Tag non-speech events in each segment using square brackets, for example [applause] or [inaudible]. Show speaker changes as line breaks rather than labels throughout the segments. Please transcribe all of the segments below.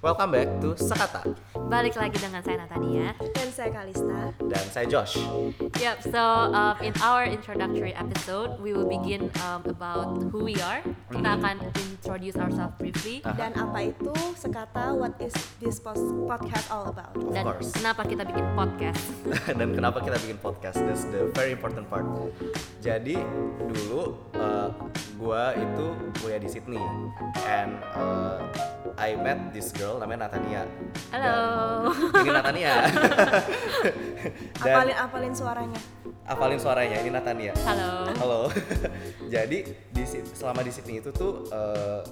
Welcome back to Sekata
Balik lagi dengan saya Natania.
Dan saya Kalista.
dan saya Josh. [laughs]
Yep. So um, in our introductory episode, we will begin um, about who we are. Kita akan introduce ourselves briefly
Mm-hmm. Ah. Aha.
Dan apa itu sekata what is this pos- podcast all about?
Of
dan
course.
kenapa kita bikin
[laughs]
podcast.
Dan kenapa kita bikin podcast? That's the very important part. Jadi dulu uh, gua itu kuliah di Sydney and uh, I met this girl namanya Natania.
Halo.
Dan- Ini Natania. [laughs] Dan
Apalin apalin suaranya.
apalin suaranya ini Natania.
[laughs] Halo.
Halo. [laughs] Jadi di Sy- selama di Sydney itu tuh eh,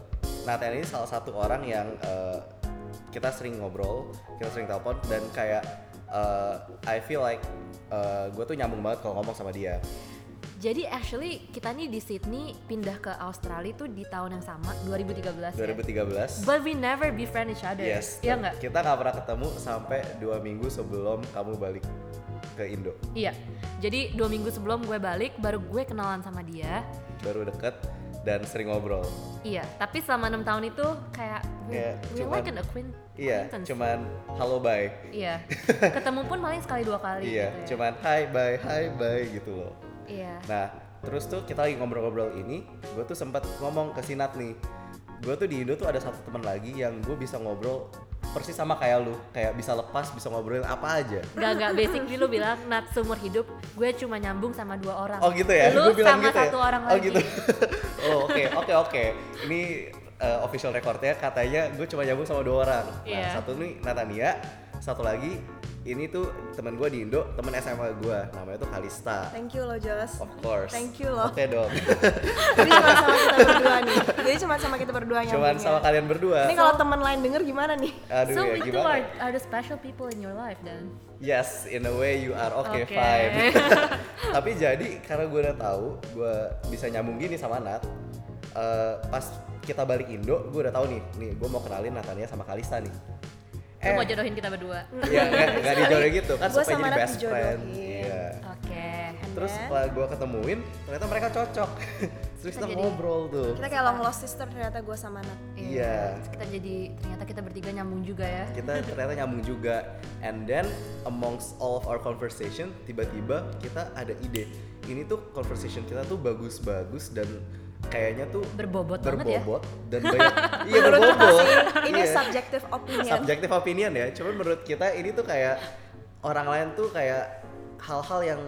Nathan ini salah satu orang yang eh, kita sering ngobrol, kita sering telepon dan kayak eh, I feel like gue tuh nyambung banget kalau ngomong sama dia.
Jadi actually kita nih di Sydney pindah ke Australia tuh di tahun yang sama 2013 ya.
2013.
But we never befriend each other.
Yes.
Iya nggak?
Kita nggak pernah ketemu sampai dua minggu sebelum kamu balik ke Indo.
Iya. Jadi dua minggu sebelum gue balik, baru gue kenalan sama dia.
Baru deket dan sering ngobrol.
Iya. Tapi selama enam tahun itu kayak we,
Kayak
we're
cuman-
like an acquaint-
Iya,
acquaintance.
cuman halo bye. [laughs]
Iya. Ketemu pun paling sekali dua kali.
Iya,
gitu ya.
cuman hi bye, hi bye gitu loh.
Iya.
[laughs] Nah, terus tuh kita lagi ngobrol-ngobrol ini, gue tuh sempat ngomong ke Sinat nih. Gue tuh di Indo tuh ada satu teman lagi yang gue bisa ngobrol persis sama kayak lu, kayak bisa lepas, bisa ngobrolin apa aja.
Gak gak basic dulu bilang nat seumur hidup gue cuma nyambung sama dua orang.
Oh gitu ya?
Lu
Gua bilang
sama
gitu ya?
satu orang
Oh
lagi.
gitu. [laughs] oh oke, oke oke. Ini eh, official recordnya katanya gue cuma nyambung sama dua orang.
Iya.
Nah, satu nih Natania, satu lagi ini tuh teman gue di Indo, teman SMA gue, namanya tuh Kalista.
Thank you loh Jos.
Of course.
Thank you
[laughs]
loh.
Oke
[laughs]
dong.
Jadi cuma sama kita berdua nih. Jadi cuma sama kita berdua
Cuman
ya.
nyambungnya.
sama kalian berdua.
Ini kalau teman lain denger gimana nih?
Aduh
so
ya
we two
gimana?
are, are the special people in your life then.
Yes, in a way you are okay,
Oke.
fine.
[laughs]
[laughs] Tapi jadi karena gue udah tahu gue bisa nyambung gini sama Nat. eh, pas kita balik Indo, gue udah tahu nih, nih gue mau kenalin Natania sama Kalista nih.
Lu
Eh.
mau jodohin kita berdua. Oke.
ya nggak nggak dijodohin gitu kan
Gua
supaya
sama
jadi
Nat
best friend.
dijodohin.
Iya. Terus
Dan
setelah gue ketemuin, ternyata mereka cocok. [laughs] Terus kita
Kita jadi-
ngobrol tuh.
kita kayak long lost sister ternyata gue sama Nat.
Iya.
Terus Kita jadi ternyata kita bertiga nyambung juga ya.
kita ternyata nyambung juga and then amongst all of our conversation tiba-tiba kita ada ide ini tuh conversation kita tuh bagus-bagus dan kayaknya tuh
Berbobot banget ya.
berbobot
[laughs]
dan banyak iya
Menurut aku
berbobot
sih, ini
Iya.
subjective opinion.
subjective opinion ya cuman menurut kita ini tuh kayak orang lain tuh kayak hal-hal yang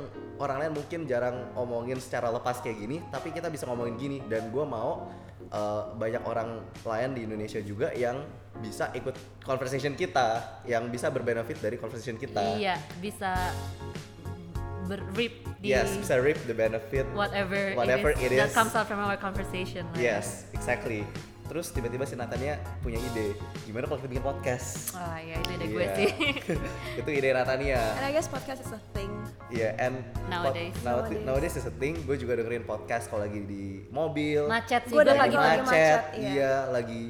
orang lain mungkin jarang omongin secara lepas kayak gini tapi kita bisa ngomongin gini dan gue mau uh, banyak orang lain di Indonesia juga yang bisa ikut conversation kita yang bisa berbenefit dari conversation kita
Iya, bisa berrip di
yes bisa reap the benefit
whatever,
Whatever it
that
is.
comes out from our conversation. lah.
yes exactly terus tiba-tiba si Natania punya ide gimana kalau kita bikin podcast
Ah ya itu ide gue
Iya.
sih.
[laughs] itu ide Natania
And I guess podcast is a thing.
Iya, and
Nowadays.
pod- now- nowadays, is a thing. Gue juga dengerin podcast kalau lagi di mobil,
Macet sih
Gua
gue
udah
lagi.
lagi-
banget.
macet, iya.
iya. lagi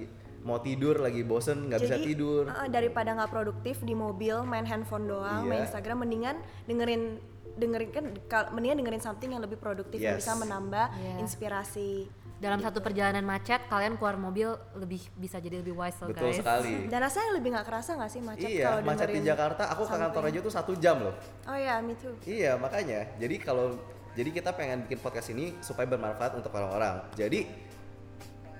mau tidur, lagi bosen, nggak bisa
Jadi,
tidur.
Oh,
uh, daripada nggak produktif di mobil main handphone doang,
Iya.
main Instagram mendingan dengerin dengerin kan kal- mendingan dengerin something yang lebih produktif yang
Yes.
bisa menambah
Iya.
inspirasi.
Dalam satu perjalanan macet kalian keluar mobil lebih bisa jadi lebih wise loh
Betul
guys.
sekali.
Dan rasanya lebih nggak kerasa nggak sih macet
iya,
kalau
macet di
dengerin-
Jakarta. Aku ke kantor aja tuh satu jam loh.
Oh ya, me too.
Iya, makanya. Jadi kalau jadi kita pengen bikin podcast ini supaya bermanfaat untuk orang-orang. Jadi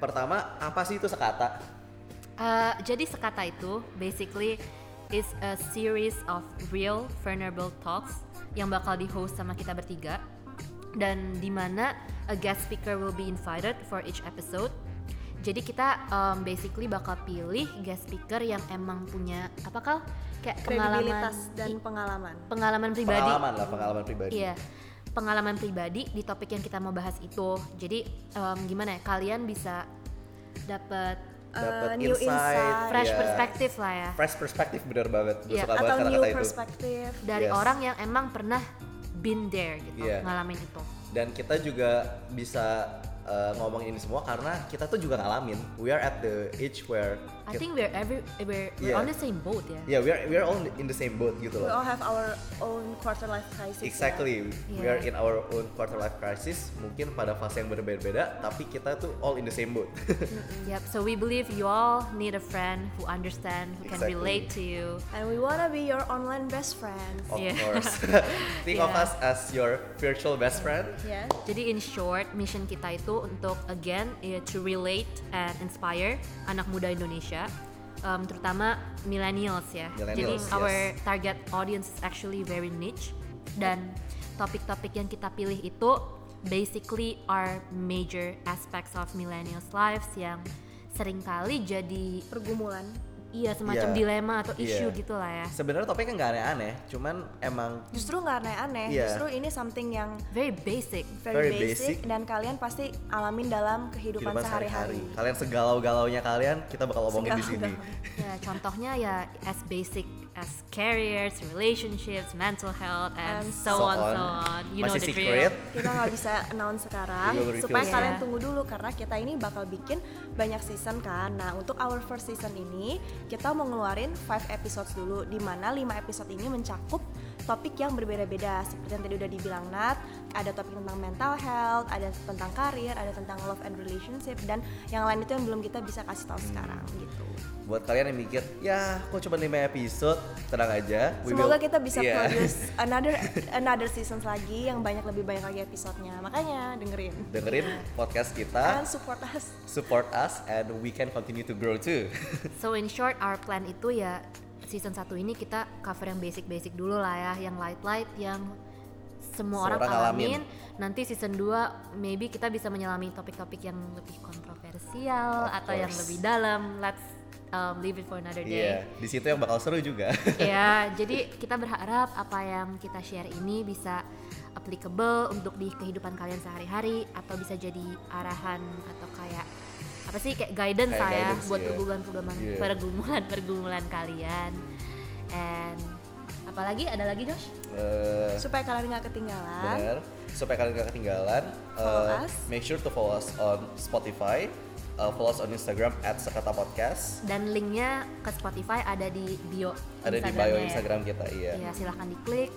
pertama apa sih itu sekata?
Uh, jadi sekata itu basically is a series of real vulnerable talks yang bakal di host sama kita bertiga dan di mana a guest speaker will be invited for each episode. Jadi kita um, basically bakal pilih guest speaker yang emang punya apa kal kayak pengalaman
Kredibilitas dan pengalaman.
pengalaman pribadi.
Pengalaman lah, pengalaman pribadi.
Iya, pengalaman pribadi di topik yang kita mau bahas itu. Jadi em, gimana ya kalian bisa dapat
Dapat
Eh, new insight.
fresh
iya.
perspective lah ya
Fresh perspective bener banget. Gue
Iya,
suka banget
Atau new
kata-kata itu.
perspective.
dari
Yes.
orang yang emang pernah been there gitu
Iya.
ngalamin itu.
dan kita juga bisa eh, ngomongin ini semua karena kita tuh juga ngalamin. We are at the age where
I think we're every we're, we're
Yeah.
on the same boat ya.
ya we are we are all in the same boat gitu
we
loh.
all have our own quarter life crisis ya.
Exactly, we
Yeah.
are in our own quarter life crisis. Mungkin pada fase yang berbeda-beda, tapi kita tuh all in the same boat. [laughs]
Yep. So we believe you all need a friend who understand, who can
Exactly.
relate to you.
and we wanna be your online best friends
of
Yeah.
course.
[laughs]
Think of
Yeah.
us as your virtual best friend.
yeah
Jadi in short, mission kita itu untuk again eh, to relate and inspire anak muda Indonesia, um, terutama millennials ya. Jadi
Millennials,
our
yes.
target audience is actually very niche dan topik-topik yang kita pilih itu basically are major aspects of millennials lives yang seringkali jadi
pergumulan
iya semacam
Yeah.
dilema atau
Yeah.
isu gitu lah ya.
Sebenarnya topiknya nggak aneh-aneh, cuman emang
justru nggak aneh-aneh
Iya.
justru ini something yang
Very basic.
very,
Very
basic,
basic.
dan kalian pasti alamin dalam kehidupan,
kehidupan
sehari-hari
sehari-hari. Kalian segalau-galaunya kalian, kita bakal omongin di sini.
Segalau-galau.
Ya, contohnya ya as basic as careers, relationships, mental health, and,
And
so, on, so on. You
Masih
know the
secret.
drill.
kita nggak bisa announce sekarang
Kita baru
supaya
reveal.
kalian
Iya.
tunggu dulu karena kita ini bakal bikin banyak season kan nah untuk our first season ini kita mau ngeluarin 5 episodes dulu di mana 5 episode ini mencakup topik yang berbeda-beda seperti yang tadi udah dibilang Nat ada topik tentang mental health ada tentang karir ada tentang love and relationship dan yang lain itu yang belum kita bisa kasih tahu sekarang gitu
Buat kalian yang mikir, ya kok cuma 5 episode, tenang aja. we
Semoga
will-
kita bisa
Iya. [laughs]
produce another another seasons lagi yang banyak lebih banyak lagi episodenya. Makanya dengerin
dengerin podcast
dan
kita,
support us.
support us and we can continue to grow too.
So in short, our plan itu ya season 1 ini kita cover yang basic-basic dulu lah ya, yang light-light, yang semua
Semua
orang,
orang
alamin.
alamin.
Nanti season 2 maybe kita bisa menyelami topik-topik yang lebih
Of
kontroversial atau yang
course.
lebih dalam. Let's um, leave it for another day.
Iya, di situ yang bakal seru juga.
ya jadi kita berharap apa yang kita share ini bisa applicable untuk di kehidupan kalian sehari-hari atau bisa jadi arahan atau kayak apa sih kayak guidance
Kayak
saya
guidance,
buat
iya.
pergumulan-pergumulan
Iya.
pergumulan-pergumulan kalian and apalagi ada lagi Josh
Eh,
supaya kalian nggak ketinggalan.
Bener. Supaya kalian gak ketinggalan,
Follow
eh,
us.
make sure to follow us on Spotify, eh, follow us on Instagram at Sekata Podcast.
dan linknya ke Spotify ada di bio
Ada di bio
Instagramnya ya.
Instagram kita, iya.
ya silahkan diklik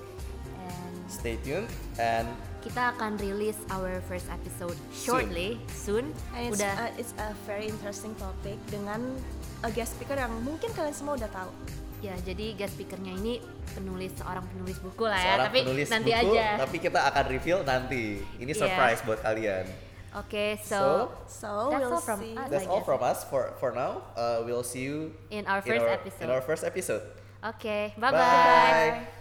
and
Stay tuned and
kita akan rilis our first episode shortly soon,
And it's,
udah
uh, it's a very interesting topic dengan a guest speaker yang mungkin kalian semua udah tahu.
Ya, jadi guest speakernya ini penulis seorang penulis buku lah ya,
seorang
tapi
penulis
nanti
buku,
aja.
tapi kita akan reveal nanti. Ini
Iya.
surprise buat kalian.
Oke, so,
So
That's
we'll
all from
see.
us.
That's
I
all
guess.
from us for for now. Uh, we'll see you
in our first
in our,
episode.
in our first episode.
Oke, bye-bye.
Bye.